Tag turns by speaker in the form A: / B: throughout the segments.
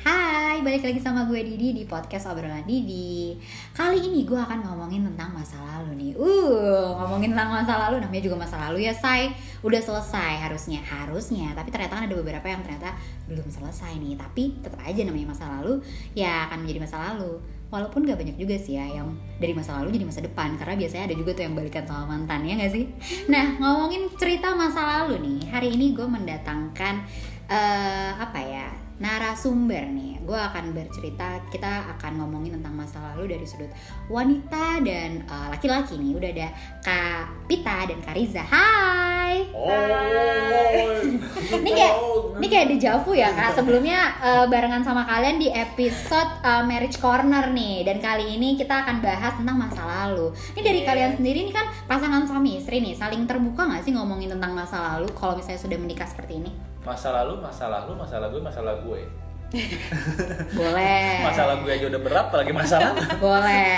A: Hai, balik lagi sama gue Didi di podcast obrolan Didi. Kali ini gue akan ngomongin tentang masa lalu nih. Uh, ngomongin tentang masa lalu, namanya juga masa lalu ya, say. Udah selesai harusnya, harusnya. Tapi ternyata kan ada beberapa yang ternyata belum selesai nih. Tapi tetap aja namanya masa lalu, ya akan menjadi masa lalu. Walaupun gak banyak juga sih ya yang dari masa lalu jadi masa depan Karena biasanya ada juga tuh yang balikan sama mantan ya gak sih? Nah ngomongin cerita masa lalu nih Hari ini gue mendatangkan eh apa ya narasumber nih gue akan bercerita kita akan ngomongin tentang masa lalu dari sudut wanita dan eh, laki-laki nih udah ada kak Pita dan kak Riza hai Ini kayak- ini kayak di Javu ya kak sebelumnya eh, barengan sama kalian di episode eh, marriage corner nih dan kali ini kita akan bahas tentang masa lalu ini dari
B: Yes.
A: kalian sendiri ini kan pasangan suami istri nih saling terbuka nggak sih ngomongin tentang masa lalu kalau misalnya sudah menikah seperti ini
B: masa lalu masalah lu masalah gue masalah gue
A: boleh
B: masalah gue aja udah berat apalagi masalah
A: boleh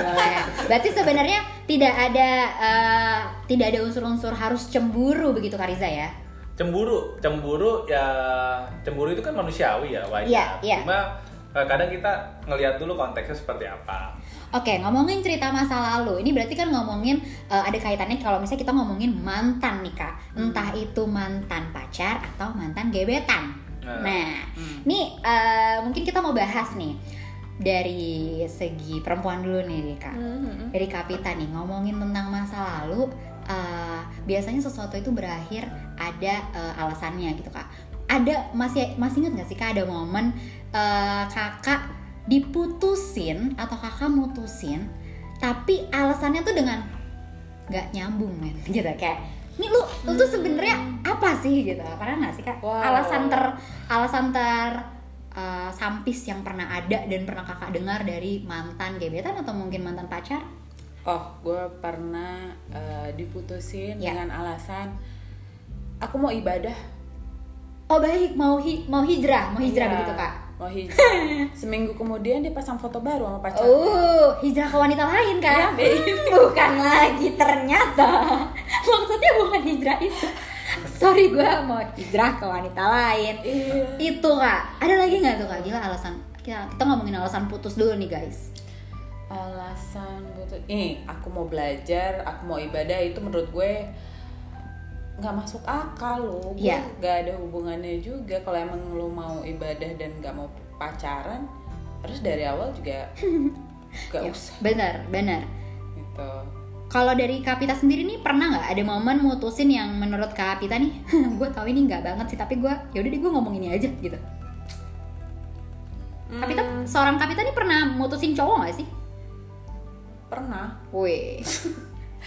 A: boleh berarti sebenarnya tidak ada eh, tidak ada unsur-unsur harus cemburu begitu Kariza ya
B: cemburu cemburu ya cemburu itu kan manusiawi ya wajar
A: Iya, iya.
B: cuma eh, kadang kita ngelihat dulu konteksnya seperti apa
A: oke ngomongin cerita masa lalu ini berarti kan ngomongin eh, ada kaitannya kalau misalnya kita ngomongin mantan nih kak entah itu mantan pacar atau mantan gebetan
B: Nah.
A: nah
C: Hmm.
A: Nih, eh, mungkin kita mau bahas nih dari segi perempuan dulu nih, Rika. Dari Kapita nih, ngomongin tentang masa lalu, eh, biasanya sesuatu itu berakhir ada eh, alasannya gitu kak. Ada masih masih ingat nggak sih kak ada momen eh, kakak diputusin atau kakak mutusin, tapi alasannya tuh dengan nggak nyambung men gitu kayak ini lu lu tuh sebenarnya apa sih gitu pernah nggak sih kak
C: Wow.
A: alasan ter alasan ter eh, sampis yang pernah ada dan pernah kakak dengar dari mantan gebetan atau mungkin mantan pacar
C: Oh, gue pernah eh, diputusin
A: Ya.
C: dengan alasan aku mau ibadah.
A: oh baik mau hi- mau hijrah mau hijrah
C: Iya,
A: begitu kak
C: Mau hijrah. Seminggu kemudian dia pasang foto baru sama pacar.
A: oh hijrah ke wanita lain
C: Ya,
A: kan
C: baik.
A: Hmm, bukan lagi ternyata maksudnya bukan hijrah itu sorry gue mau hijrah ke wanita lain
C: Iya.
A: itu kak ada lagi nggak tuh kak gila alasan kita, kita ngomongin alasan putus dulu nih guys
C: Alasan butuh. Ini aku mau belajar, aku mau ibadah itu menurut gue nggak masuk akal loh. Gue
A: Iya.
C: nggak ada hubungannya juga. Kalau emang lo mau ibadah dan nggak mau pacaran, terus dari awal juga nggak
A: Ya,
C: usah
A: benar benar
C: gitu.
A: kalau dari Kapita sendiri nih pernah nggak ada momen mutusin yang menurut Kapita nih gue tahu ini nggak banget sih tapi gue yaudah deh gue ngomong ini aja gitu Kapita
C: Hmm,
A: seorang Kapita nih pernah mutusin cowok nggak sih
C: pernah.
A: wih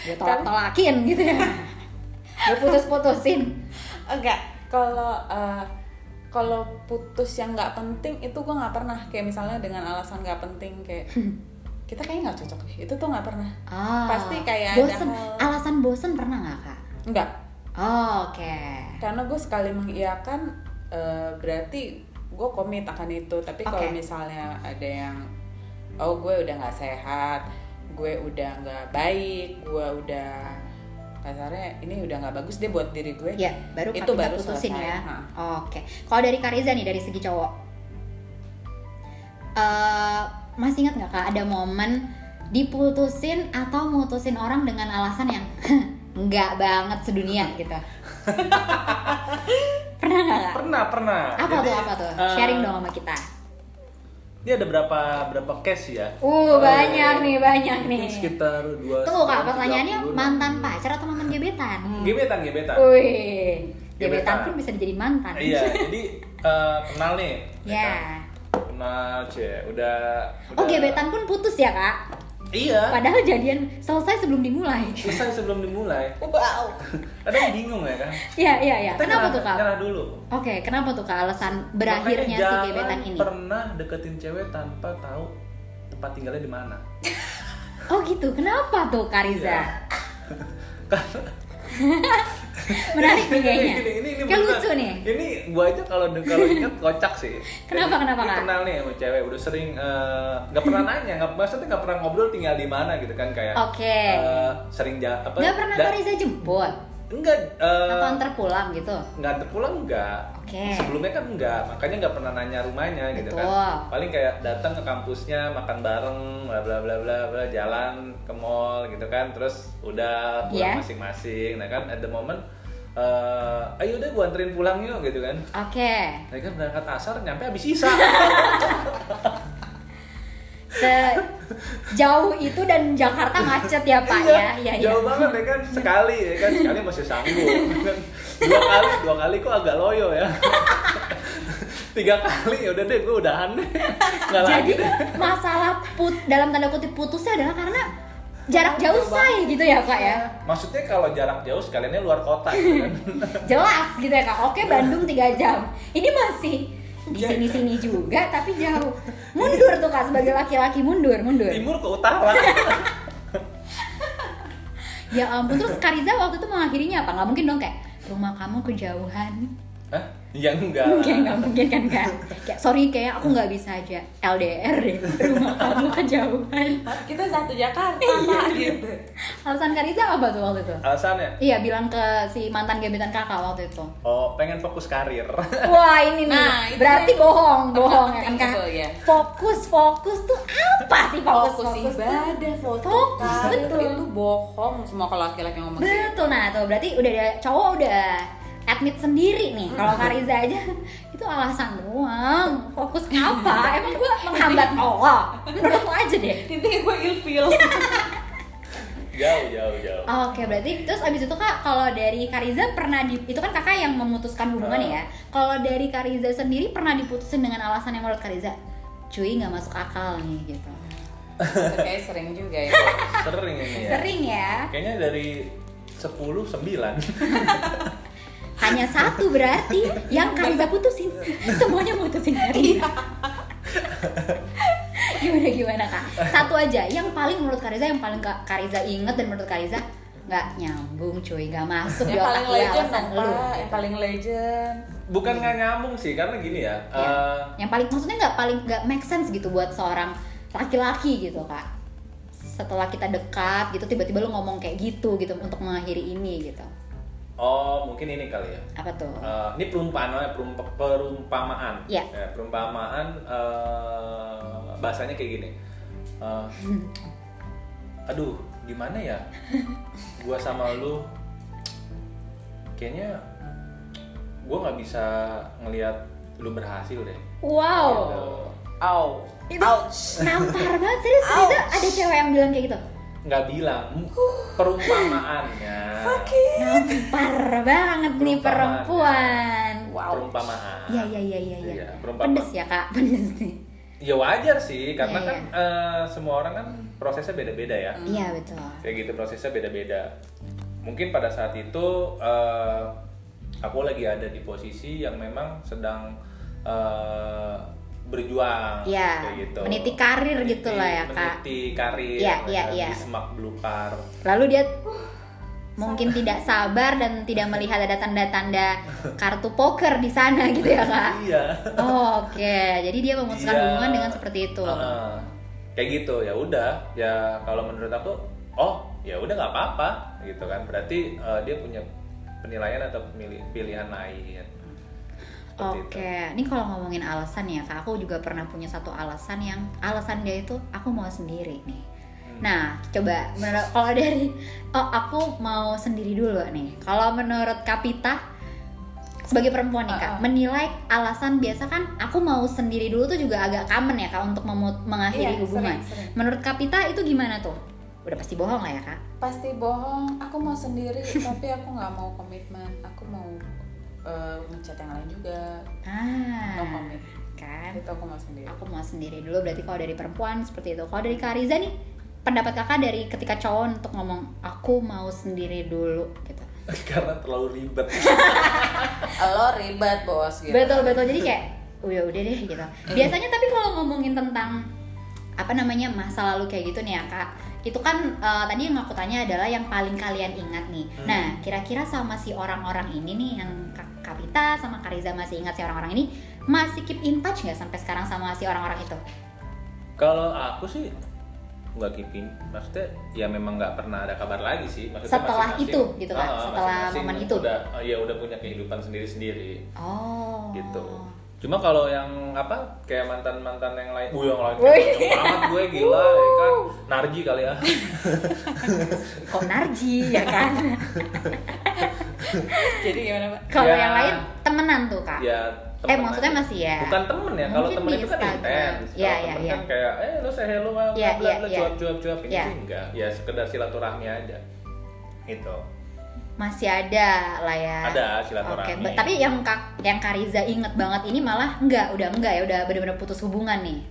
C: Ya,
A: gue tolak tolakin gitu ya gue putus putusin
C: enggak kalau eh, kalau putus yang nggak penting itu gue nggak pernah kayak misalnya dengan alasan nggak penting kayak kita kayaknya nggak cocok deh itu tuh nggak pernah
A: Ah,
C: Pasti kayak ada
A: bosen
C: hal-
A: alasan bosen pernah nggak kak
C: enggak
A: Oh, oke
C: karena gue sekali mengiyakan eh, berarti gue komit akan itu tapi kalau
A: Oke.
C: misalnya ada yang oh gue udah nggak sehat gue udah nggak baik gue udah kasarnya ini udah nggak bagus deh buat diri gue
A: Ya, baru
C: Itu
A: Kapita
C: baru
A: putusin
C: selesai,
A: ya.
C: ha.
A: Oke. Kalau dari Kariza nih dari segi cowok. Eh, masih ingat nggak Kak ada momen diputusin atau mutusin orang dengan alasan yang nggak banget sedunia gitu. Pernah nggak Kak?
B: pernah pernah
A: Apa
B: Jadi,
A: tuh apa tuh?
B: eh,
A: Sharing dong sama kita.
B: ini ada berapa berapa case ya
A: Uh, banyak nih, banyak nih.
B: mungkin sekitar dua
A: Tunggu Kak,
B: sepuluh,
A: pertanyaannya
B: 30,
A: mantan pacar atau mantan gebetan?
B: gebetan Hmm. gebetan
A: Wih, gebetan
B: Gebetan.
A: pun bisa dijadi mantan.
B: iya jadi eh, kenal nih
A: Ya.
B: kenal cie udah,
A: Oh
B: udah-
A: gebetan pun putus ya kak?
B: iya
A: Padahal jadian selesai sebelum dimulai.
B: selesai sebelum dimulai
C: wow
B: kadang bingung ya kan
A: Iya iya iya.
B: Kita
A: Kenapa
B: nyerah-
A: tuh kak?
B: nyerah dulu
A: Oke, kenapa tuh kak alasan berakhirnya
B: Makanya
A: si
B: jangan
A: gebetan ini?
B: pernah deketin cewek tanpa tahu tempat tinggalnya di mana
A: Oh gitu, kenapa tuh Kak Riza? Menarik nih kayaknya.
B: Iya. Ini- ini- ini
A: Kayak
B: beneran.
A: lucu nih.
B: ini gua aja kalau de- kalau inget kocak sih
A: Kenapa,
B: Jadi,
A: kenapa,
B: ini
A: Kak?
B: kenal nih sama cewek udah sering eh, nggak pernah nanya nggak maksudnya nggak pernah ngobrol tinggal di mana gitu kan kayak
A: Oke.
B: eh, sering ja apa
A: Gak pernah
B: da-
A: Kak Riza jemput?
B: Enggak, eh,
A: atau antar pulang gitu
B: nggak antar pulang enggak.
A: Oke.
B: Sebelumnya kan enggak, makanya nggak pernah nanya rumahnya gitu
A: Betul.
B: kan. Paling kayak datang ke kampusnya, makan bareng, bla bla bla bla bla, jalan ke mall gitu kan, terus udah
A: Iya.
B: pulang masing-masing. Nah kan at the moment, eh, ayo udah gua anterin pulang yuk gitu kan.
A: oke
B: Mereka berangkat asar, nyampe habis sisa.
A: sejauh itu dan Jakarta macet ya pak ya iya iya
B: Jauh banget ya kan sekali ya kan sekali masih sanggup. dua kali dua kali kok agak loyo ya. Tiga kali ya udah deh gue udahan deh. Nggak
A: jadi
B: lagi deh.
A: masalah put dalam tanda kutip putusnya adalah karena jarak jauh say gitu ya pak ya
B: Iya. Maksudnya kalau jarak jauh sekaliannya luar kota gitu kan.
A: jelas gitu ya kak oke Bandung 3 jam ini masih di sini sini juga tapi jauh mundur tuh kak sebagai laki-laki mundur mundur
B: Timur ke utara.
A: ya ampun terus Kariza waktu itu mengakhirinya apa nggak mungkin dong kayak rumah kamu kejauhan
B: Hah? Ya enggak.
A: Kayak nggak mungkin kan kak kayak sorry kayak aku nggak bisa aja LDR deh ya. rumah kamu kan kejauhan
C: kita satu Jakarta
A: Iya.
C: pak gitu
A: alasan Kariza apa tuh waktu itu
B: Alasannya?
A: iya bilang ke si mantan gebetan kakak waktu itu
B: Oh, pengen fokus karir.
A: Wah ini nih,
C: Nah, itu
A: berarti
C: yang
A: bohong, bohong ya kan
C: penting
A: Kak?
C: itu, ya.
A: Fokus, fokus tuh apa sih fokus,
C: fokus
A: tuh?
C: ibadah fokus,
A: Fokus,
C: karir,
A: betul.
C: itu bohong semua kalau laki-laki ngomong gitu.
A: Betul nah tuh, berarti udah ada cowok udah admit sendiri nih kalau Kariza aja itu alasan doang fokus apa emang gue menghambat Allah menurut lo aja deh
C: intinya gitu. gue ilfil
B: Jauh, jauh, jauh.
A: Oke, berarti terus abis itu kak kalau dari Kariza pernah di itu kan kakak yang memutuskan hubungan
B: Ah.
A: ya. Kalau dari Kariza sendiri pernah diputusin dengan alasan yang menurut Kariza, cuy nggak masuk akal nih gitu.
C: kayak sering juga ya
B: Sering
C: Iya.
B: ini ya.
A: Sering ya.
B: Kayaknya dari 10 9.
A: Hanya satu berarti yang Kariza putusin. Semuanya mutusin
C: Iya.
A: Kariza. gimana gimana kak? Satu aja yang paling menurut Kariza yang paling Kak Kariza inget dan menurut Kariza nggak nyambung cuy nggak masuk di
C: yang paling
A: otak gue
C: legend
A: alasan
C: dong
A: lu.
C: pak yang paling legend
B: Bukan nggak nyambung sih, karena gini ya.
A: Ya.
B: eh,
A: yang paling maksudnya nggak paling nggak make sense gitu buat seorang laki-laki gitu kak setelah kita dekat gitu tiba-tiba lu ngomong kayak gitu gitu untuk mengakhiri ini gitu
B: oh, mungkin ini kali ya.
A: apa tuh
B: Eh, ini perumpamaan, perump- perumpamaan.
A: Iya.
B: Ya, perumpamaan eh, bahasanya kayak gini. Eh, aduh, gimana ya? Gua sama lu kayaknya gua nggak bisa ngelihat lu berhasil deh.
A: wow
B: Gitu.
C: Ow.
A: Itu-
C: Ouch.
A: nampar banget serius Riza, ada cewek yang bilang kayak gitu
B: Nggak bilang perumpamaannya.
A: nampar banget nih
B: Perumpamaan.
A: perempuan
C: Wow.
B: Perumpamaan.
A: Iya iya iya iya iya.
B: Iya, perumpamaan.
A: Pedes ya kak, pedes nih.
B: Ya wajar sih, karena
A: Iya,
B: kan eh, semua orang kan prosesnya beda-beda ya.
A: Iya betul.
B: kayak gitu prosesnya beda-beda mungkin pada saat itu eh, aku lagi ada di posisi yang memang sedang eh, berjuang
A: Iya,
B: kayak gitu
A: meniti karir gitu lah ya, Kak.
B: meniti karir
A: Iya,
B: ya
A: iya,
B: kan,
A: iya.
B: di semak belukar
A: Lalu dia mungkin tidak sabar dan tidak melihat ada tanda-tanda kartu poker di sana gitu ya kak.
B: iya
A: Oh, Oke, jadi dia memutuskan
B: Iya.
A: hubungan dengan seperti itu.
C: Ah,
B: Heeh. kayak gitu ya udah ya kalau menurut aku oh ya udah nggak apa-apa gitu kan berarti eh, dia punya penilaian atau pemili- pilihan lain Seperti
A: Oke, ini kalau ngomongin alasan ya kak, aku juga pernah punya satu alasan yang alasan dia itu aku mau sendiri nih.
C: Hmm.
A: Nah, coba menurut kalau dari oh aku mau sendiri dulu nih. Kalau menurut Kapita sebagai perempuan nih kak,
C: Ah, ah.
A: menilai alasan biasa kan aku mau sendiri dulu tuh juga agak common ya kak untuk memu- mengakhiri
C: Iya,
A: Nah, hubungan.
C: sering, sering.
A: Menurut Kapita itu gimana tuh? Udah pasti bohong lah ya kak.
C: Pasti bohong. Aku mau sendiri, tapi aku nggak mau komitmen. Aku mau eh, ngechat yang lain juga. No
A: Ah,
C: comment.
A: kan.
C: Itu aku mau sendiri.
A: aku mau sendiri dulu berarti kalau dari perempuan seperti itu kalau dari Kariza nih pendapat kakak dari ketika cowok untuk ngomong aku mau sendiri dulu gitu
B: karena terlalu ribet
C: Lo ribet bos
B: Iya.
C: gitu.
A: betul betul jadi kayak udah udah deh gitu biasanya tapi kalau ngomongin tentang apa namanya masa lalu kayak gitu nih ya kak itu kan eh, tadi yang aku tanya adalah yang paling kalian ingat nih
B: Hmm.
A: nah kira-kira sama si orang-orang ini nih yang Kak- Kapita sama Kariza masih ingat si orang-orang ini masih keep in touch nggak sampai sekarang sama si orang-orang itu
B: Kalau aku sih nggak keeping maksudnya ya memang nggak pernah ada kabar lagi sih maksudnya
A: Setelah
B: masing-masing-
A: itu, gitu kan?
B: Ah, ah,
A: Setelah
B: masing-masing
A: momen itu.
B: udah ah, ya udah punya kehidupan sendiri sendiri
A: Oh.
B: gitu cuma kalau yang apa kayak mantan mantan yang lain uh yang lain
A: Wih.
B: macam banget gue gila ya kan narji kali ya
A: Kom Narji ya kan.
C: Jadi gimana pak?
A: Kalau
B: Ya.
A: yang lain temenan tuh kak.
B: ya
A: eh
B: temen
A: maksudnya
B: aja.
A: masih ya.
B: bukan temen ya kalau
A: Mungkin
B: temen
A: di
B: itu kan
A: Instagram.
B: intens kalau
A: Iya, iya,
B: temen
A: iya.
B: kan kayak eh lu saya hello bla
A: Iya,
B: bla bla
A: iya,
B: bla,
A: iya.
B: cuap cuap cuap ini
A: Iya.
B: sih enggak ya sekedar silaturahmi aja itu
A: Masih ada lah ya.
B: ada
A: Oke,
B: silaturahmi
A: ba- tapi yang kak, yang Kariza inget banget ini malah enggak, udah enggak ya, udah bener-bener putus hubungan nih.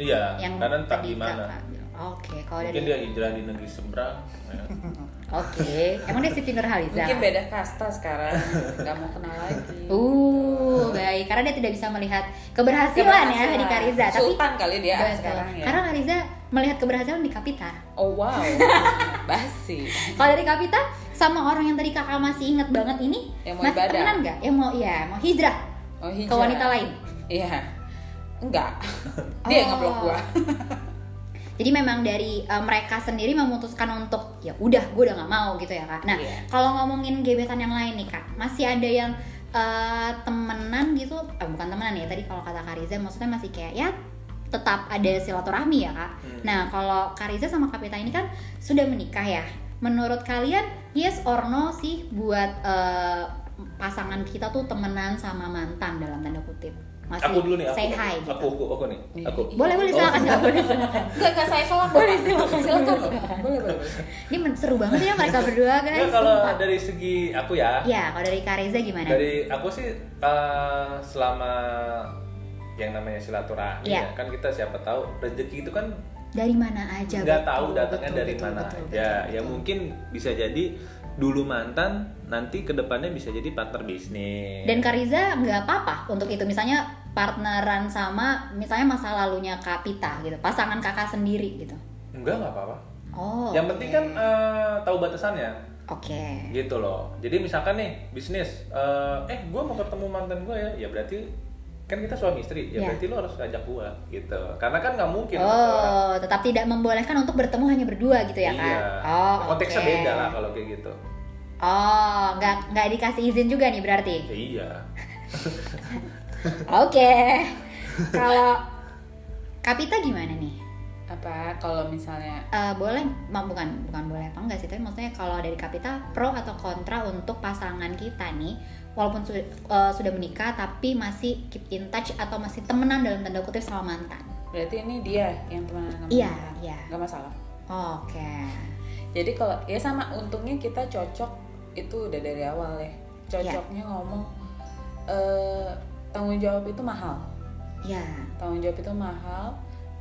B: iya
A: Yang
B: karena entah
A: tadi
B: gimana
A: Kakak bilang. Oke, kalau dari
B: mungkin dia hijrah di negeri seberang ya.
A: Oke, emang dia Siti Nurhaliza.
C: Mungkin beda kasta sekarang, nggak mau kenal lagi.
A: Uh, baik. Karena dia tidak bisa melihat keberhasilan, ya di Kariza, tapi
C: Sultan kali dia
A: Betul.
C: sekarang ya.
A: Karena Kariza melihat keberhasilan di Kapita.
C: Oh wow, basi.
A: Kalau dari Kapita sama orang yang tadi kakak masih inget banget ini
C: Yang mau
A: masih
C: ibadah.
A: temenan nggak? Yang mau ya mau hijrah
C: Oh hijau.
A: ke wanita lain.
C: Iya. Enggak. Dia yang
A: Oh.
C: ngeblok gua.
A: Jadi memang dari eh, mereka sendiri memutuskan untuk ya udah gue udah nggak mau gitu ya kak. Nah
C: Iya.
A: kalau ngomongin gebetan yang lain nih kak, masih ada yang eh, temenan gitu? Eh, bukan temenan ya tadi kalau kata Kariza maksudnya masih kayak ya tetap ada silaturahmi ya kak.
B: Hmm.
A: Nah kalau Kariza sama Kapita ini kan sudah menikah ya. Menurut kalian yes or no sih buat eh, pasangan kita tuh temenan sama mantan dalam tanda kutip? Masih
B: aku dulu nih aku
A: say hi gitu. Iya,
B: aku aku aku nih
C: Nih.
B: aku
A: Boleh boleh silakan
B: Oh.
A: silakan, boleh silakan.
C: Enggak, enggak saya salah.
A: Boleh, silakan.
C: Silakan. Boleh, boleh, boleh.
A: Ini men- seru banget ya mereka berdua guys.
B: ya kalau
A: sumpah.
B: dari segi aku ya
A: Ya, kalau dari Kak Reza gimana?
B: dari aku sih eh, selama yang namanya silaturahmi
A: Iya.
B: ya, kan kita siapa tahu rezeki itu kan
A: Dari mana aja?
B: nggak
A: betul,
B: tahu datangnya
A: betul,
B: dari
A: betul,
B: mana
A: betul,
B: ya
A: betul,
B: ya
A: betul.
B: mungkin bisa jadi dulu mantan nanti kedepannya bisa jadi partner bisnis
A: Dan Kak Reza nggak apa-apa untuk itu. Misalnya partneran sama misalnya masa lalunya Kak Pita gitu, pasangan kakak sendiri gitu.
B: enggak nggak apa-apa
A: Oh.
B: yang
A: oke.
B: penting kan eh, tahu batasannya
A: Oke.
B: gitu loh jadi misalkan nih bisnis eh, eh gue mau ketemu mantan gue ya ya berarti kan kita suami istri ya
A: Iya.
B: berarti lo harus ngajak gue gitu karena kan nggak mungkin orang-
A: Oh, tetap tidak membolehkan untuk bertemu hanya berdua gitu ya
B: iya.
A: kan? Oh,
B: konteksnya
A: oke.
B: beda lah kalau kayak gitu
A: Oh, nggak nggak dikasih izin juga nih berarti.
B: ya, iya
A: Oke. kalau Kapita gimana nih?
C: Apa kalau misalnya
A: Eh, boleh ma- bukan bukan boleh apa enggak sih tapi maksudnya kalau dari kapita pro atau kontra untuk pasangan kita nih walaupun su- eh, sudah menikah tapi masih keep in touch atau masih temenan dalam tanda kutip sama mantan
C: berarti ini dia yang teman sama
A: Iya,
C: kita.
A: iya.
C: Nggak masalah.
A: oke
C: Jadi kalau ya sama untungnya kita cocok itu udah dari awal
A: Iya.
C: ya. Cocoknya ngomong eh tanggung jawab itu mahal.
A: ya
C: Tanggung jawab itu mahal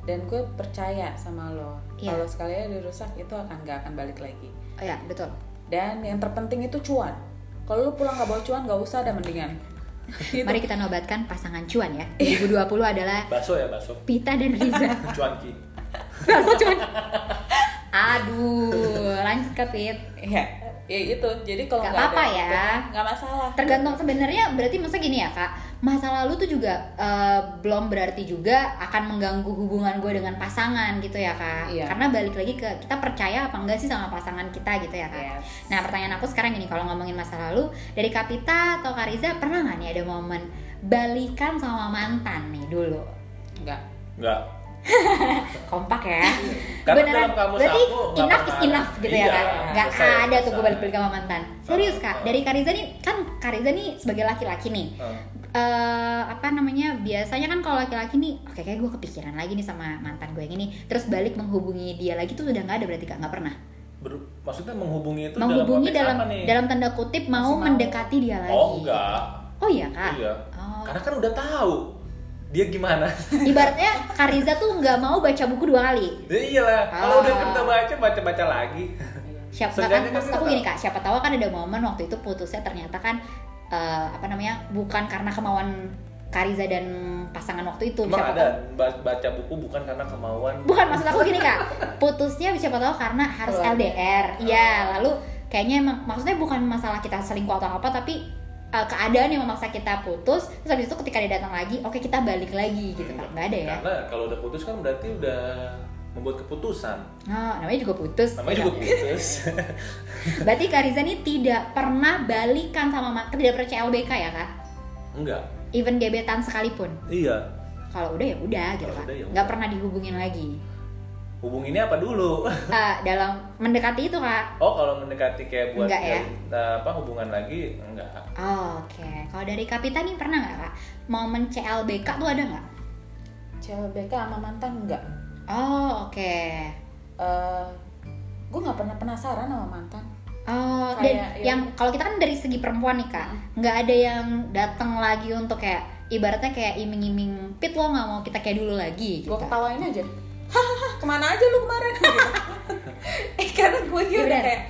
C: dan gue percaya sama lo.
A: Iya.
C: Kalau sekalinya dirusak itu akan nggak akan balik lagi.
A: oh, ya betul
C: Dan yang terpenting itu cuan. Kalau lu pulang nggak bawa cuan nggak usah ada mendingan. Gitu.
A: mari kita nobatkan pasangan cuan ya 2020 adalah
B: baso ya baso
A: Pita dan Riza
B: cuanki
A: Rasa cuan aduh lanjut ke Pit
C: Iya, ya itu. Jadi kalau
A: Nggak
C: nggak
A: apa-apa
C: ada-
A: ya.
C: nggak masalah.
A: tergantung sebenarnya berarti masa gini ya kak masa lalu tuh juga eh, belum berarti juga akan mengganggu hubungan gue dengan pasangan gitu ya kak
C: Iya.
A: karena balik lagi ke kita percaya apa enggak sih sama pasangan kita gitu ya
B: Iya.
C: Iya.
A: kak
C: Yes.
A: nah pertanyaan aku sekarang gini kalau ngomongin masa lalu dari Kapita atau Kariza pernah nggak nih ada momen balikan sama mantan nih dulu
C: Nggak.
B: nggak
A: kompak ya
B: Iya. karena
A: Beneran.
B: dalam kamus
A: berarti
B: aku nggak
A: enough is
B: pernah
A: enough
B: ada.
A: gitu
B: Iya,
A: ya kak nggak ada
B: selesai,
A: tuh gue
B: selesai.
A: balik-balik sama mantan serius kak
B: Ah.
A: dari Kariza nih kan Kariza nih sebagai laki-laki nih
B: Eh,
A: eh apa namanya biasanya kan kalau laki-laki nih oke kayak gue kepikiran lagi nih sama mantan gue yang ini terus balik menghubungi dia lagi tuh udah nggak ada berarti kak nggak pernah
B: ber- maksudnya menghubungi itu
A: menghubungi dalam
B: dalam, konteks apa nih?
A: dalam tanda kutip mau
C: Masih mau.
A: mendekati dia lagi
B: oh enggak
A: oh iya kak
B: iya
A: Oh.
B: karena kan udah tahu dia gimana
A: ibaratnya Kariza tuh nggak mau baca buku dua kali
B: ya iyalah kalau
A: Ah.
B: udah pernah baca baca baca lagi
A: siapa kan
B: Seenggaknya kan
A: maksud
B: kita
A: aku
B: tahu.
A: gini kak siapa tahu kan ada momen waktu itu putusnya ternyata kan eh, apa namanya bukan karena kemauan Kariza dan pasangan waktu itu
B: Emang
A: siapa
B: ada ba- baca buku bukan karena kemauan.
A: Bukan maksud aku gini kak, putusnya siapa tahu karena harus
C: Keluarga.
A: LDR,
B: Oh.
A: iya lalu kayaknya emang maksudnya bukan masalah kita selingkuh atau apa tapi uh, keadaan yang memaksa kita putus terus habis
B: Iya.
A: itu ketika dia datang lagi oke kita balik lagi gitu kak nggak ada ya
B: Karena kalau udah putus kan berarti udah membuat keputusan
A: Oh, namanya juga putus.
B: namanya
A: Iya.
B: juga putus
A: Berarti Kak Riza ini tidak pernah balikan sama mantan, tidak pernah CLBK ya kak?
B: enggak
A: Even gebetan sekalipun.
B: iya
A: Kalau udah ya udah gitu
B: Kalau
A: kak.
B: udah ya
A: Nggak
B: udah.
A: pernah dihubungin lagi.
B: hubunginnya apa dulu
A: Eh, dalam mendekati itu kak.
B: oh kalau mendekati kayak buat
A: Enggak ya?
B: eh, apa hubungan lagi enggak
A: Oh, Oke. Kalau dari Kapita nih pernah nggak kak? Momen CLBK tuh ada nggak?
C: CLBK sama mantan enggak
A: Oh oke.
C: Eh, gue nggak pernah penasaran sama mantan
A: Oh, dan
C: Kayak, Hmm. ya.
A: yang kalau kita kan dari segi perempuan nih kak, nggak ada yang datang lagi untuk kayak ibaratnya kayak iming-iming pit lo nggak mau kita kayak dulu lagi.
C: gue
A: gitu.
C: ketawain aja hahaha kemana aja lu kemarin Gitu. eh karena gue
A: Iya,
C: ya udah
A: benar.
C: kayak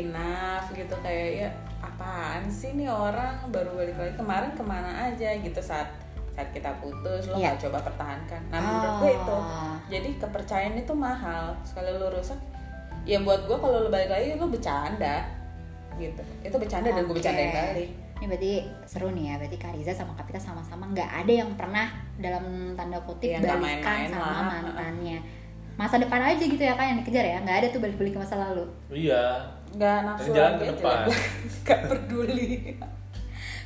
C: enough gitu kayak ya apaan sih nih orang baru balik lagi kemarin kemana aja gitu saat saat kita putus lo
A: Iya.
C: nggak coba pertahankan nah menurut gue itu
A: Oh.
C: jadi kepercayaan itu mahal sekali lu rusak ya buat gue kalau lu balik lagi lu bercanda gitu itu bercanda dan gue
A: Oke.
C: bercandain balik
A: Ini berarti seru nih ya, berarti Kariza sama Kapita sama-sama nggak ada yang pernah dalam tanda kutip
C: Iya, nggak
A: balikan
C: main-main
A: sama
C: lah.
A: mantannya. Masa depan aja gitu ya kan yang dikejar ya, nggak ada tuh balik-balik ke masa lalu.
B: iya
C: nggak nafsu
B: Jalan ke
C: lagi
B: depan.
C: nggak peduli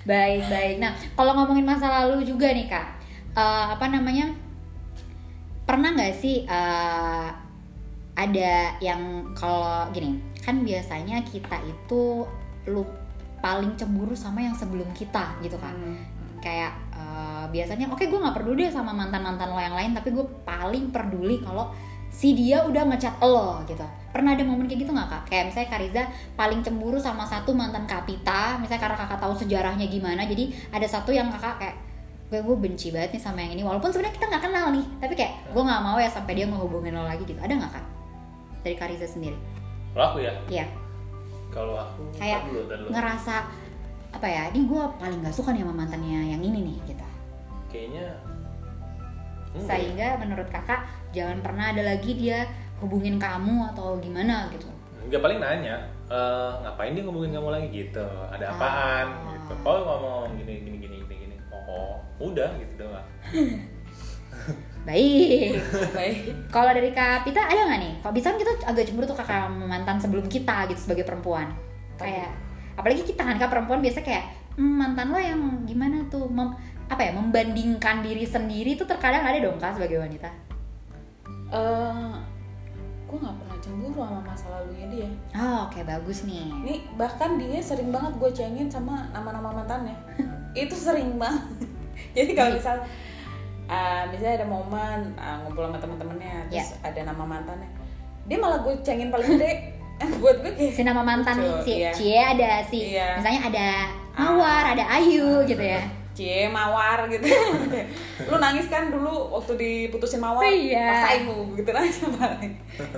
A: Baik baik. Nah kalau ngomongin masa lalu juga nih kak, eh, apa namanya? Pernah nggak sih eh, ada yang kalau gini kan biasanya kita itu lu paling cemburu sama yang sebelum kita gitu kan?
C: Hmm.
A: kayak eh, biasanya oke gue nggak peduli deh sama mantan mantan lo yang lain tapi gue paling peduli kalau si dia udah ngechat lo gitu pernah ada momen kayak gitu nggak kak kayak misalnya Kariza paling cemburu sama satu mantan Kapita misalnya karena kakak tahu sejarahnya gimana jadi ada satu yang kakak kayak gue gue benci banget nih sama yang ini walaupun sebenarnya kita nggak kenal nih tapi kayak gue nggak mau ya sampai dia ngehubungin lo lagi gitu ada nggak kak dari Kariza sendiri
B: kalau aku ya
A: iya
B: kalau aku
A: Kayak
B: ntar dulu, ntar dulu.
A: ngerasa apa ya ini gue paling nggak suka nih sama mantannya yang ini nih gitu
B: kayaknya enggak ya.
A: sehingga menurut kakak jangan pernah ada lagi dia hubungin kamu atau gimana gitu
B: Enggak paling nanya, "Eh, ngapain dia ngomongin kamu lagi gitu? Ada apaan?
A: Ah.
B: Gitu. Oh ngomong gini gini gini gini gini. Oh, udah gitu doang.
A: baik
C: baik
A: kalau dari kak Pita ada nggak nih kalau bisa kan kita agak cemburu tuh kakak sama mantan sebelum kita gitu sebagai perempuan kayak apalagi kita kan kak perempuan biasa kayak "Hmm, mantan lo yang gimana tuh Mem- apa ya membandingkan diri sendiri tuh terkadang ada dong kak sebagai wanita
C: eh gue nggak pernah cemburu sama masa lalunya dia.
A: oh oke bagus nih
C: Ini bahkan dia sering banget gue cengin sama nama-nama mantannya. itu sering banget. Jadi kalau misal, eh, misalnya ada momen eh, ngumpul sama teman-temannya,
A: Ya.
C: terus ada nama mantannya, dia malah gue cengin paling gede. Eh, Buat gue kayak
A: si nama mantan si
C: lucu, iya.
A: Cie ada si
C: Iya.
A: misalnya ada Mawar ada Ayu gitu ya
C: Cie mawar gitu. lu nangis kan dulu waktu diputusin mawar.
A: Iya.
C: Rasain lu gitu nangis paling.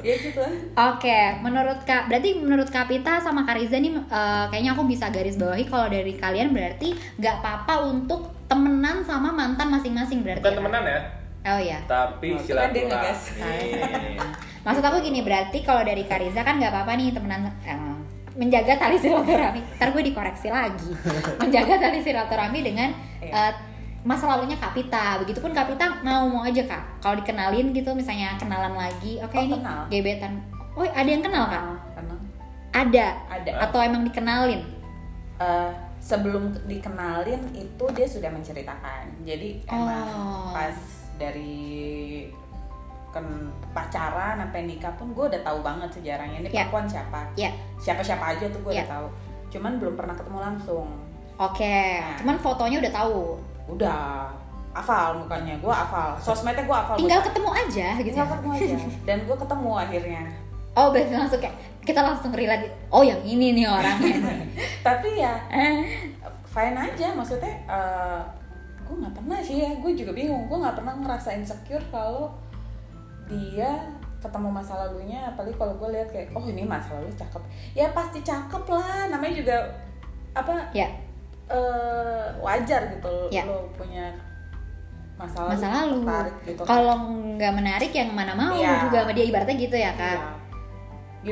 C: ya gitu.
A: Oke, menurut Kak, berarti menurut Kapita sama Kariza nih eh, kayaknya aku bisa garis bawahi kalau dari kalian berarti nggak apa-apa untuk temenan sama mantan masing-masing berarti.
B: Bukan
A: ya, Kak?
B: temenan ya,
A: Oh iya.
B: tapi
C: Oh, itu kan
B: silaturahmi.
C: dia ngegas.
A: Maksud aku gini, berarti kalau dari Kariza kan nggak apa-apa nih temenan eh, menjaga tali silaturahmi. Ntar gue dikoreksi lagi. Menjaga tali silaturahmi dengan
C: Iya.
A: eh, masa lalunya Kapita. Begitupun Kapita mau mau aja Kak. Kalau dikenalin gitu misalnya kenalan lagi, oke
C: Oh,
A: ini
C: kenal.
A: gebetan. Oh, ada yang kenal Kak?
C: Karena
A: Ada.
C: ada.
A: atau emang dikenalin
C: Eh, sebelum dikenalin itu dia sudah menceritakan jadi emang
A: Oh.
C: pas dari ken- pacaran sampai nikah pun gue udah tahu banget sejarahnya ini
A: Ya.
C: perempuan siapa
A: Ya.
C: siapa siapa aja tuh gue
A: Ya.
C: udah tahu cuman belum pernah ketemu langsung
A: oke
C: Ah.
A: cuman fotonya udah tahu
C: Oh, udah hafal mukanya gue hafal sosmednya gue hafal
A: tinggal
C: Gua-
A: ketemu aja gitu
C: tinggal ketemu aja dan gue ketemu akhirnya
A: oh berarti langsung kayak kita langsung relate oh yang ini nih orangnya
C: tapi ya
A: Eh,
C: fine aja maksudnya eh gue nggak pernah sih ya gue juga bingung gue nggak pernah ngerasa insecure kalau dia ketemu masa lalunya apalagi kalau gue lihat kayak oh ini masa lalu cakep ya pasti cakep lah namanya juga apa
A: ya
C: eh, wajar gitu
A: Ya.
C: lo punya masalah
A: masa lalu
C: tertarik gitu
A: kalau nggak menarik yang mana mau
C: Iya.
A: juga sama dia ibaratnya gitu ya kak
C: Iya.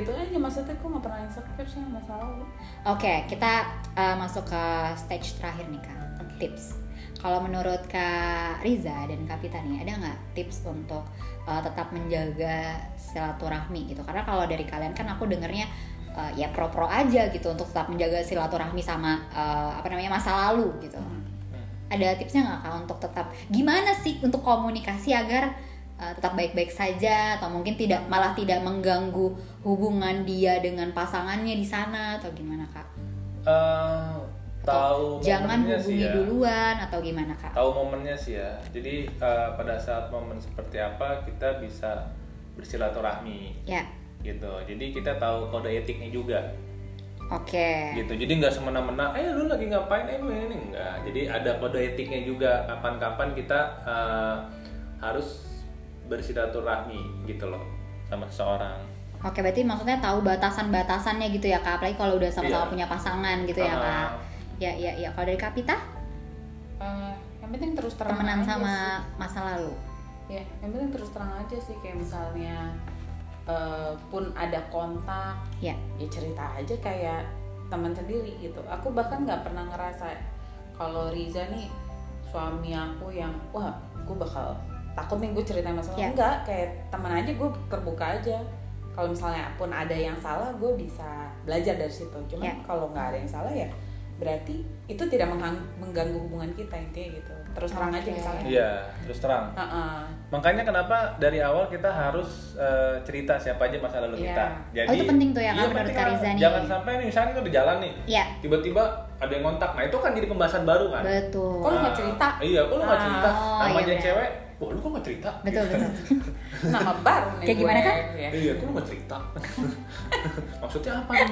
C: gitu aja maksudnya gue nggak pernah insecure sih sama masa lalu
A: Oke, kita uh, masuk ke stage terakhir nih kak. Tips. Kalau menurut kak Riza dan kak Pita nih, ada nggak tips untuk uh, tetap menjaga silaturahmi gitu? Karena kalau dari kalian kan aku dengernya uh, ya pro-pro aja gitu untuk tetap menjaga silaturahmi sama uh, apa namanya masa lalu gitu. Ada tipsnya nggak kak untuk tetap gimana sih untuk komunikasi agar uh, tetap baik-baik saja atau mungkin tidak malah tidak mengganggu hubungan dia dengan pasangannya di sana atau gimana kak?
B: Eh,
A: Atau
B: tahu
A: jangan
B: momennya
A: hubungi
B: sih ya.
A: duluan atau gimana kak?
B: tahu momennya sih ya jadi eh, pada saat momen seperti apa kita bisa bersilaturahmi
A: Ya,
B: gitu jadi kita tahu kode etiknya juga
A: oke.
B: gitu jadi nggak semena-mena eh lu lagi ngapain eh lu ini ini." enggak jadi ada kode etiknya juga kapan-kapan kita eh, harus bersilaturahmi gitu loh sama seseorang
A: Oke, berarti maksudnya tahu batasan-batasannya gitu ya kak? Apalagi kalau udah sama-sama
B: Iya.
A: punya pasangan gitu ya
B: Ah.
A: kak? Ya, ya, ya. Kalau dari Kapita,
C: Eh, yang penting terus terang
A: temenan
C: aja
A: sama masa lalu.
C: sih. ya yang penting terus terang aja sih kayak misalnya eh, pun ada kontak
A: Ya,
C: ya cerita aja kayak teman sendiri gitu aku bahkan nggak pernah ngerasa kalau Riza nih suami aku yang wah gue bakal takut nih gue cerita masalah
A: Iya.
C: enggak kayak teman aja gue terbuka aja kalau misalnya pun ada yang salah gue bisa belajar dari situ cuman
A: Iya.
C: kalau nggak ada yang salah ya berarti itu tidak menghang- mengganggu hubungan kita intinya gitu terus terang aja
A: Oke.
C: misalnya
B: iya terus terang
C: Heeh.
B: makanya kenapa dari awal kita harus eh, cerita siapa aja masa lalu
C: Iya.
B: kita jadi
A: Oh, itu penting tuh ya,
B: iya,
A: Kak, menurut
B: penting
A: Kak
B: lah.
A: Riza nih.
B: jangan sampai nih misalnya kita udah jalan nih
A: ya,
B: tiba-tiba ada yang kontak nah itu kan jadi pembahasan baru kan
A: betul.
C: Kok lu nggak cerita?
B: iya kok lu nggak
C: Ah.
B: cerita
A: Oh,
B: namanya
A: iya,
B: cewek wah lu kok nggak cerita Gitu.
A: Betul, betul.
C: nama baru nih
A: Kayak gimana,
C: gue,
A: Kak?
C: ya.
B: iya kok lu nggak cerita maksudnya apa nih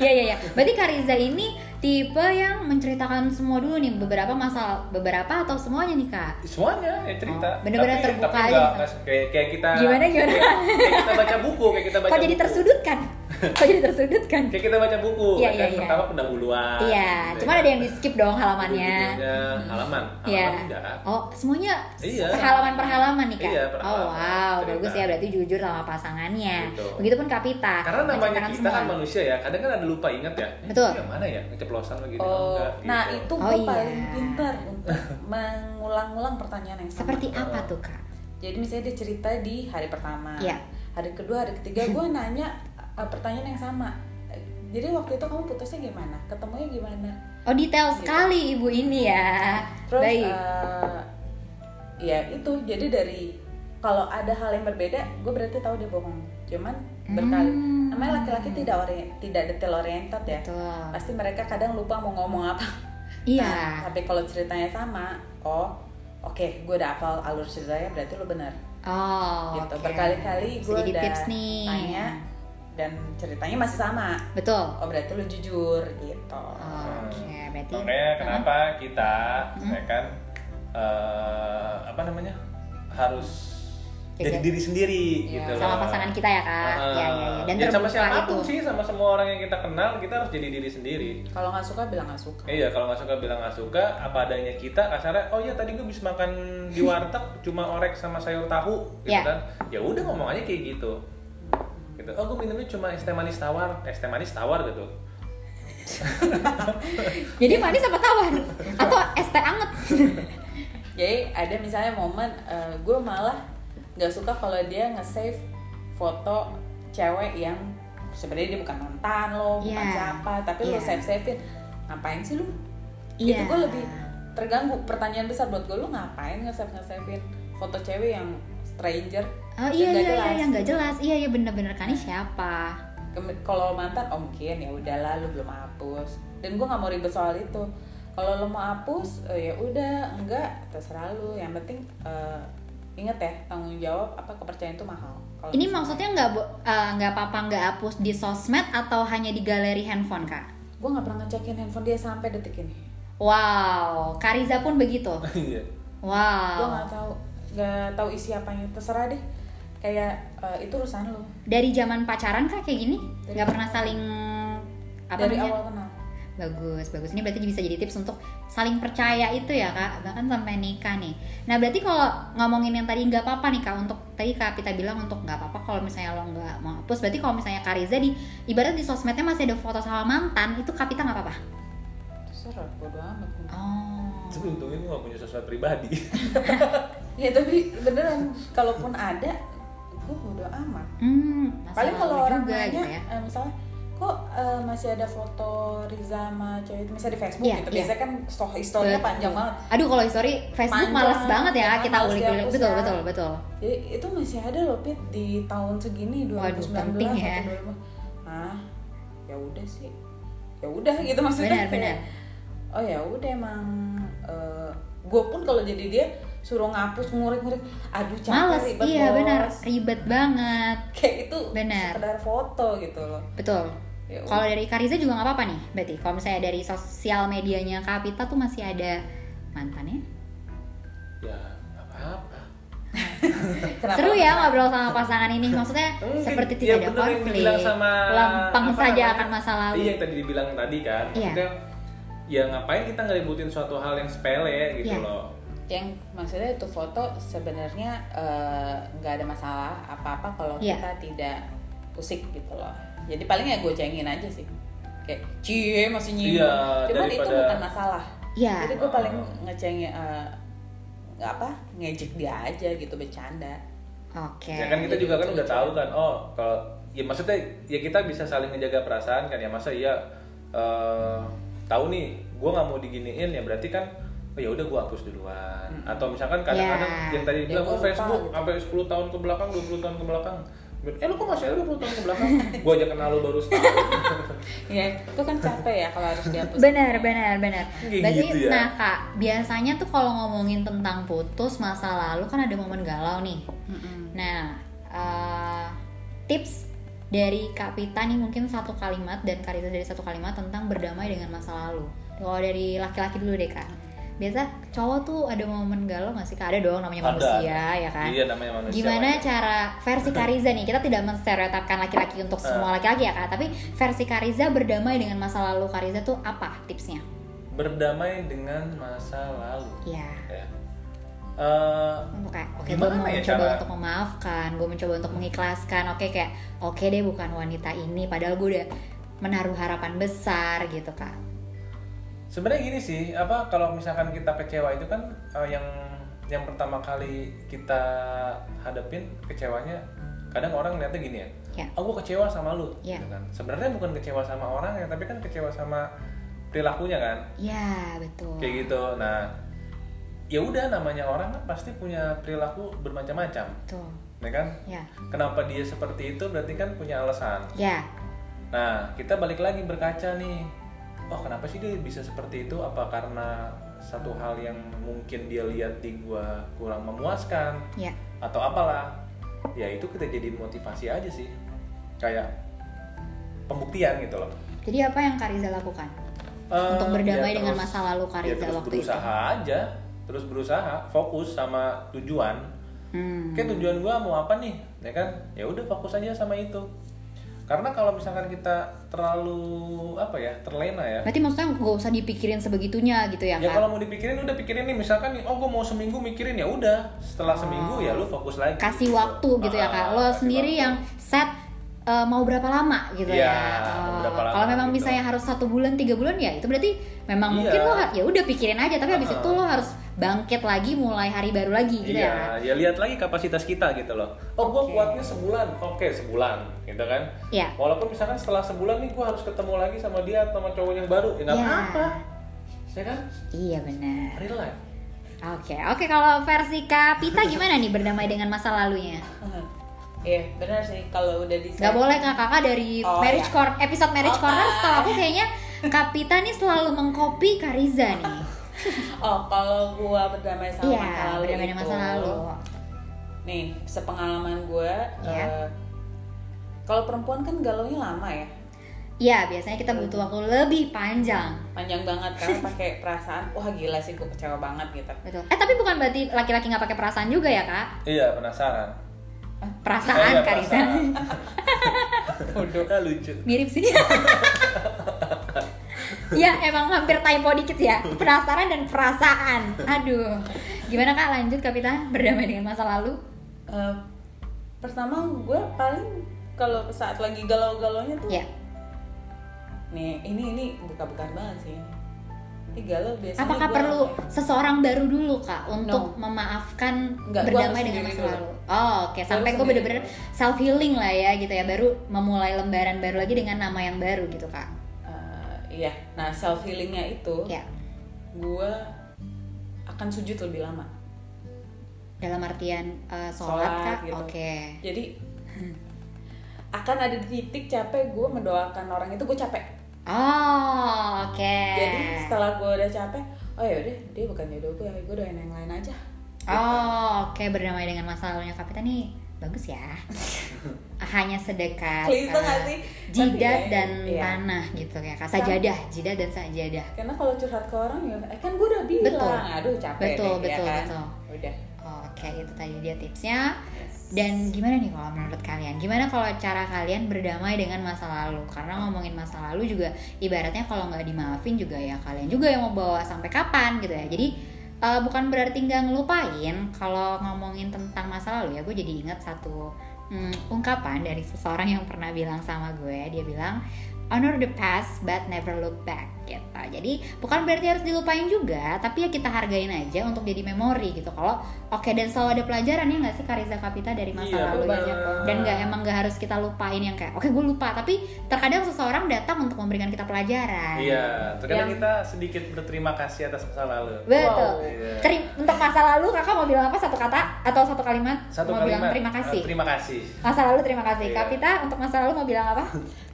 A: Iya iya iya. Berarti Kariza ini tipe yang menceritakan semua dulu nih beberapa masalah beberapa atau semuanya nih kak.
B: semuanya ya cerita
A: Oh, bener-bener
B: Tapi-
A: terbuka
B: tapi
A: aja
B: nggak-
A: gitu.
B: nggak se- kayak, kayak kita
A: Gimana, gimana?
B: kayak, kayak kita baca buku kayak kita baca
A: Kok jadi
B: buku.
A: tersudutkan? Kok jadi tersudutkan?
B: kayak kita baca buku
A: Iya,
B: kan
A: iya, iya.
B: pertama pendahuluan
A: Iya.
B: gitu
A: Cuma
B: ya.
A: ada yang di skip dong halamannya.
B: Judul-judulnya, halaman
A: Iya.
B: halaman tidak
A: Oh semuanya
B: Iya.
A: per halaman per halaman nih kak.
B: Iya, per
A: oh
B: halaman.
A: wow
B: Cerita.
A: bagus ya berarti jujur sama pasangannya.
B: Betul.
A: Begitupun Kapita.
B: karena namanya
A: menceritakan
B: kita kan
A: semua.
B: manusia ya kadang kan ada lupa ingat ya Eh,
A: Betul.
B: yang mana ya keceplosan lagi
C: Oh, nah
B: gitu.
C: itu
A: Oh,
C: gue
A: iya.
C: paling pintar untuk mengulang-ulang pertanyaan yang sama.
A: Seperti apa tuh kak?
C: Jadi misalnya dia cerita di hari pertama,
A: Iya.
C: hari kedua, hari ketiga gue nanya eh, pertanyaan yang sama. Eh, Jadi waktu itu kamu putusnya gimana? Ketemunya gimana?
A: Oh
B: Iya.
A: detail
C: Gitu.
A: sekali ibu ini ya.
C: Terus
A: Baik.
C: eh, ya itu jadi dari kalau ada hal yang berbeda, gue berarti tahu dia bohong. Cuman berkali.
A: Hmm.
C: Namanya laki-laki tidak ori- tidak detail oriented ya.
A: Betul.
C: Pasti mereka kadang lupa mau ngomong apa.
A: Iya.
C: Nah, tapi kalau ceritanya sama, oh oke, gue udah hafal alur ceritanya berarti lo bener.
A: Oh,
C: gitu.
A: oke.
C: Berkali-kali
A: Bisa
C: gue
A: jadi
C: udah
A: tips nih.
C: tanya dan ceritanya masih sama.
A: Betul.
C: Oh berarti lo jujur gitu.
A: Oke, berarti.
B: Nah, makanya kenapa kita ya kan eh, apa namanya harus
A: Jaga-
B: jadi diri sendiri
C: Iya.
B: gitu
A: Sama
B: loh.
A: pasangan kita ya kak.
B: Heeh.
A: Iya, iya, iya. Dan
B: Ya, sama
A: terbuka
B: siapapun
A: itu.
B: sih sama semua orang yang kita kenal kita harus jadi diri sendiri
C: Kalau nggak suka bilang nggak suka.
B: Iya, kalau nggak suka bilang nggak suka, apa adanya kita kasarnya. Oh iya tadi gue bisa makan di warteg cuma orek sama sayur tahu, gitu
A: Iya.
B: kan? Ya udah ngomong aja kayak gitu. Gitu. Oh gue minumnya cuma es teh manis tawar, es teh manis tawar gitu.
A: Jadi manis sama tawar atau es teh anget.
C: Jadi ada misalnya momen gue malah nggak suka kalau dia nge-save foto cewek yang sebenarnya dia bukan mantan lo, bukan
A: Iya.
C: siapa, tapi lo
A: Iya.
C: save-savein. Ngapain sih lu?
A: Iya.
C: Itu gue lebih terganggu. Pertanyaan besar buat gue lu ngapain nge-save nge-savein foto cewek yang stranger?
A: Oh
C: yang
A: iya
C: nggak
A: iya iya
C: jelas?
A: yang nggak jelas. Iya iya bener-bener kan ini siapa?
C: Kem- Kalau mantan oh mungkin ya udahlah lu belum hapus. Dan gue nggak mau ribet soal itu. Kalau lo mau hapus eh, ya udah enggak terserah lu. Yang penting eh, inget ya tanggung jawab apa kepercayaan itu mahal. Kalau
A: Ini
C: misalnya-
A: maksudnya nggak bo- eh, nggak apa-apa nggak hapus di sosmed atau hanya di galeri handphone kak?
C: gue nggak pernah ngecekin handphone dia sampai detik ini.
A: Wow, Kariza pun begitu.
B: Iya.
C: Gue
A: Wow.
C: nggak tahu nggak tahu isi apanya terserah deh. Kayak eh, itu urusan lu.
A: Dari zaman pacaran kak kayak gini, nggak pernah saling apa
C: Dari
A: namanya?
C: awal kenal.
A: Bagus, bagus. Ini berarti bisa jadi tips untuk saling percaya itu ya kak, bahkan sampai nikah nih. Nah berarti kalau ngomongin yang tadi nggak apa-apa nih kak, untuk tadi kak Pita bilang untuk nggak apa-apa kalau misalnya lo nggak mau hapus. Berarti kalau misalnya kak Riza di, ibarat di sosmednya masih ada foto sama mantan, itu kak Pita nggak apa-apa?
C: Terserah, bodo amat.
A: Oh.
B: Tapi untungnya gue gak punya sesuatu pribadi
C: Ya tapi beneran, kalaupun ada, gue bodo amat.
A: Hmm, masa
C: Paling
A: lalu
C: kalau orang
A: juga
C: nanya,
A: gitu ya.
C: eh, misalnya, kok eh, masih ada foto Riza sama cewek itu, misalnya di Facebook
A: Iya,
C: gitu.
A: iya.
C: Biasanya kan story historinya
A: Betul.
C: panjang banget.
A: Aduh kalau history Facebook
C: Panjang,
A: malas banget ya
C: ya,
A: kita
C: males
A: ulik-ulik.
C: dihapus
A: Betul,
C: ya.
A: betul, betul.
C: Jadi itu masih ada loh Pit di tahun segini 2019
A: Waduh, penting ya.
C: atau 2020. Ah, ya udah sih. Ya udah gitu maksudnya.
A: Benar, benar.
C: kayak, Oh ya udah emang gue pun kalau jadi dia suruh ngapus ngurik-ngurik aduh capek
A: Males,
C: ribet,
A: iya
C: bos.
A: benar, ribet banget.
C: kayak itu
A: Benar.
C: sekedar foto gitu loh
A: Betul.
C: Ya
A: Kalau dari Kariza juga nggak apa-apa nih, berarti kalau misalnya dari sosial medianya Kapita tuh masih ada mantannya.
B: Ya gak apa-apa
C: Kenapa?
A: Seru ya ngobrol sama pasangan ini, maksudnya
B: Mungkin,
A: seperti tidak
B: ya
A: ada
B: bener yang
A: konflik,
B: dibilang sama
A: lempeng
B: apa
A: saja
B: namanya?
A: akan masa lalu.
B: Iya yang tadi dibilang tadi kan
A: Iya.
B: Maksudnya, Ya ngapain kita ngeributin suatu hal yang sepele gitu
A: Iya.
B: loh
C: yang maksudnya itu foto sebenarnya eh, nggak ada masalah apa-apa kalau
A: Iya.
C: kita tidak pusik gitu loh jadi paling ya gue cengin aja sih kayak cie masih nyinggung
B: Iya,
C: cuman itu
B: daripada- Oh.
C: bukan masalah
A: Iya.
C: jadi gue paling ngecengin eh, nggak apa ngejek dia aja gitu bercanda
A: Oke.
B: Ya kan kita juga kan udah tahu kan, oh kalau ya maksudnya ya kita bisa saling menjaga perasaan kan ya masa iya eh, tahu nih gue nggak mau diginiin ya berarti kan oh ya udah gue hapus duluan atau misalkan kadang-kadang
A: Ya.
B: yang tadi
C: Ya,
B: bilang oh
C: gua lupa
B: Facebook
C: gitu.
B: sampai 10 tahun ke belakang 20 tahun ke belakang eh lu kok masih ada 20 tahun ke belakang gue aja kenal lu baru setahun
C: ya itu kan capek ya kalau harus dihapus
A: Benar, benar, benar.
B: Kayak
A: Berarti,
B: gitu ya.
A: nah kak, biasanya tuh kalau ngomongin tentang putus masa lalu kan ada momen galau nih.
C: Mm-mm.
A: Nah, eh, tips dari Kak Pita nih mungkin satu kalimat dan Kak Rita dari satu kalimat tentang berdamai dengan masa lalu. Kalau dari laki-laki dulu deh kak. Biasa cowok tuh ada momen galau nggak sih kak? Ada dong namanya
B: Ada.
A: manusia ya kan?
B: iya namanya manusia
A: Gimana
B: wajar.
A: cara versi Kariza nih? Kita tidak menstereotipkan laki-laki
B: Eh.
A: untuk semua laki-laki ya kak, tapi versi Kariza berdamai dengan masa lalu Kariza tuh apa tipsnya?
B: berdamai dengan masa lalu
A: Ya,
B: ya Eh,
A: untuk kayak oke gue
B: Gimana
A: mau
B: ya
A: mencoba
B: cara-
A: untuk memaafkan, gue mencoba untuk mengikhlaskan, oke kayak oke deh bukan wanita ini, padahal gue udah menaruh harapan besar gitu kak.
B: sebenarnya gini sih apa kalau misalkan kita kecewa itu kan eh, yang yang pertama kali kita hadapin kecewanya kadang orang lihatnya gini ya
A: Ya.
B: aku kecewa sama lu
A: Ya.
B: gitu kan sebenarnya bukan kecewa sama orang ya tapi kan kecewa sama perilakunya kan
A: Ya betul.
B: kayak gitu nah ya udah namanya orang kan pasti punya perilaku bermacam-macam
A: Betul.
B: ya kan
A: Ya,
B: kenapa dia seperti itu berarti kan punya alasan
A: ya,
B: Nah, kita balik lagi berkaca nih. Oh, kenapa sih dia bisa seperti itu? Apa karena satu hal yang mungkin dia lihat di gua kurang memuaskan
A: ya.
B: atau apalah? Ya itu kita jadi motivasi aja sih. Kayak pembuktian gitu loh.
A: Jadi apa yang Kariza lakukan
B: Eh,
A: untuk berdamai
B: ya
A: dengan
B: terus-
A: masa lalu
B: ya
A: Kariza
B: terus
A: waktu
B: berusaha aja, terus berusaha, fokus sama tujuan.
A: itu? Hmm.
B: Oke tujuan gua mau apa nih, ya kan? Ya udah fokus aja sama itu. Karena kalau misalkan kita terlalu apa ya, terlena ya.
A: Berarti maksudnya gak usah dipikirin sebegitunya gitu ya,
B: Ya
A: kak?
B: kalau mau dipikirin udah pikirin nih misalkan nih, oh gua mau seminggu mikirin ya udah. Setelah seminggu ya lu fokus lagi.
A: Kasih waktu gitu ya
B: Ah,
A: kak. Lo
B: kasih
A: sendiri
B: waktu.
A: yang set eh, mau berapa lama gitu ya.
B: Iya, mau
A: Oh,
B: berapa lama
A: kalau memang
B: gitu.
A: misalnya harus satu bulan tiga bulan ya itu berarti memang
B: Iya.
A: mungkin lo ha- ya udah pikirin aja tapi habis
B: Uh-uh.
A: itu lo harus bangkit lagi mulai hari baru lagi gitu ya.
B: Iya,
A: Kak?
B: ya lihat lagi kapasitas kita gitu loh. Oh, gua
C: Oke.
B: kuatnya sebulan. Oke, sebulan gitu kan.
A: Iya.
B: Walaupun misalkan setelah sebulan nih gua harus ketemu lagi sama dia atau sama cowok yang baru, ya enggak
A: Iya.
B: apa-apa. Ya kan?
A: Iya benar.
B: Real life.
A: Oke, oke kalau versi Kak Pita gimana nih berdamai dengan masa lalunya?
C: Iya benar sih kalau udah di
A: Gak boleh kak kakak dari
C: Oh,
A: marriage
C: iya.
A: Cor- episode marriage
C: Oh,
A: corner
C: ah.
A: setahu aku kayaknya Kak Pita nih selalu mengcopy Kak Riza nih.
C: Oh, kalau gua berdamai sama
A: Iya,
C: masa lalu
A: berdamai dengan
C: itu,
A: masa lalu.
C: Nih, sepengalaman gua,
A: Iya.
C: eh, kalau perempuan kan galaunya lama ya,
A: Iya, biasanya kita butuh waktu lebih panjang.
C: panjang banget karena pakai perasaan. Wah gila sih, gua kecewa banget gitu.
A: Betul. Eh tapi bukan berarti laki-laki nggak pakai perasaan juga ya kak? Eh,
B: Iya, penasaran. Eh,
A: Perasaan
B: Saya
A: Kak Riza.
B: penasaran.
C: Bodoh.
B: Ah, lucu.
A: Mirip sih. ya emang hampir typo dikit ya penasaran dan perasaan aduh gimana kak lanjut kapita berdamai dengan masa lalu
C: Eh, pertama gue paling kalau saat lagi galau-galaunya tuh
A: ya
C: nih ini ini buka-bukaan banget sih ini. Ini galau biasanya.
A: apakah
C: gua-
A: perlu seseorang baru dulu kak untuk
C: No.
A: memaafkan
C: Enggak, gua
A: berdamai
C: harus
A: dengan
C: sendiri
A: masa
C: dulu.
A: lalu oh oke sampai
C: Gua harus
A: gue
C: sendiri
A: bener-bener
C: dulu.
A: self healing lah ya gitu ya baru memulai lembaran baru lagi dengan nama yang baru gitu kak
C: Eh, iya. Nah self healingnya itu
A: ya
C: gue akan sujud lebih lama.
A: dalam artian eh, sholat,
C: Sholat,
A: kak
C: gitu.
A: oke
C: Jadi akan ada di titik capek gue mendoakan orang itu gue capek.
A: oh oke
C: Jadi setelah gue udah capek, oh ya udah dia bukan jodoh gue, gue doain yang lain aja.
A: Oh, oke berdamai dengan masa lalunya Kapita nih bagus ya. Hanya sedekat
C: Klise
A: eh,
C: nggak sih?
A: jidat
C: Tapi ya,
A: dan
C: iya.
A: tanah gitu ya. Kak sajadah, jidat dan sajadah.
C: Karena kalau curhat ke orang ya, eh kan gue udah bilang,
A: Betul.
C: aduh capek
A: Betul,
C: deh, ya
A: betul,
C: kan?
A: betul.
C: Udah.
A: Oke, itu tadi dia tipsnya. Dan gimana nih kalau menurut kalian? Gimana kalau cara kalian berdamai dengan masa lalu? Karena ngomongin masa lalu juga ibaratnya kalau nggak dimaafin juga ya kalian juga yang mau bawa sampai kapan gitu ya. Jadi eh, bukan berarti nggak ngelupain kalau ngomongin tentang masa lalu ya gue jadi ingat satu hmm, ungkapan dari seseorang yang pernah bilang sama gue. Dia bilang honor the past but never look back gitu. Jadi bukan berarti harus dilupain juga, tapi ya kita hargain aja untuk jadi memori gitu. Kalau oke dan selalu ada pelajaran ya nggak sih Kariza Kapita dari masa
B: Iya,
A: lalu
B: bener
A: aja.
B: banget.
A: Dan nggak emang nggak harus kita lupain yang kayak oke gue lupa, tapi terkadang seseorang datang untuk memberikan kita pelajaran.
B: Iya, terkadang
C: Yang-
B: kita sedikit berterima kasih atas masa lalu.
A: Betul.
C: Wow.
B: Iya.
A: Keri- untuk masa lalu kakak mau bilang apa satu kata atau satu kalimat?
B: Satu
A: mau
B: kalimat.
A: bilang terima kasih.
B: eh, terima kasih.
A: Masa lalu terima kasih.
B: Iya.
A: Kapita untuk masa lalu mau bilang apa?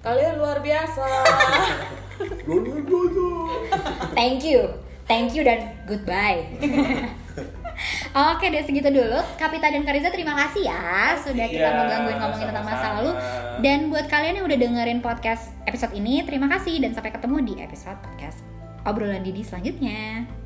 C: Kalian luar biasa.
A: Thank you, thank you dan goodbye. Oke deh segitu dulu. Kapita dan Kariza terima kasih ya sudah kita
B: Iya,
A: mau gangguin ngomongin tentang masa
B: sama-sama.
A: lalu. Dan buat kalian yang udah dengerin podcast episode ini, terima kasih dan sampai ketemu di episode podcast obrolan Didi selanjutnya.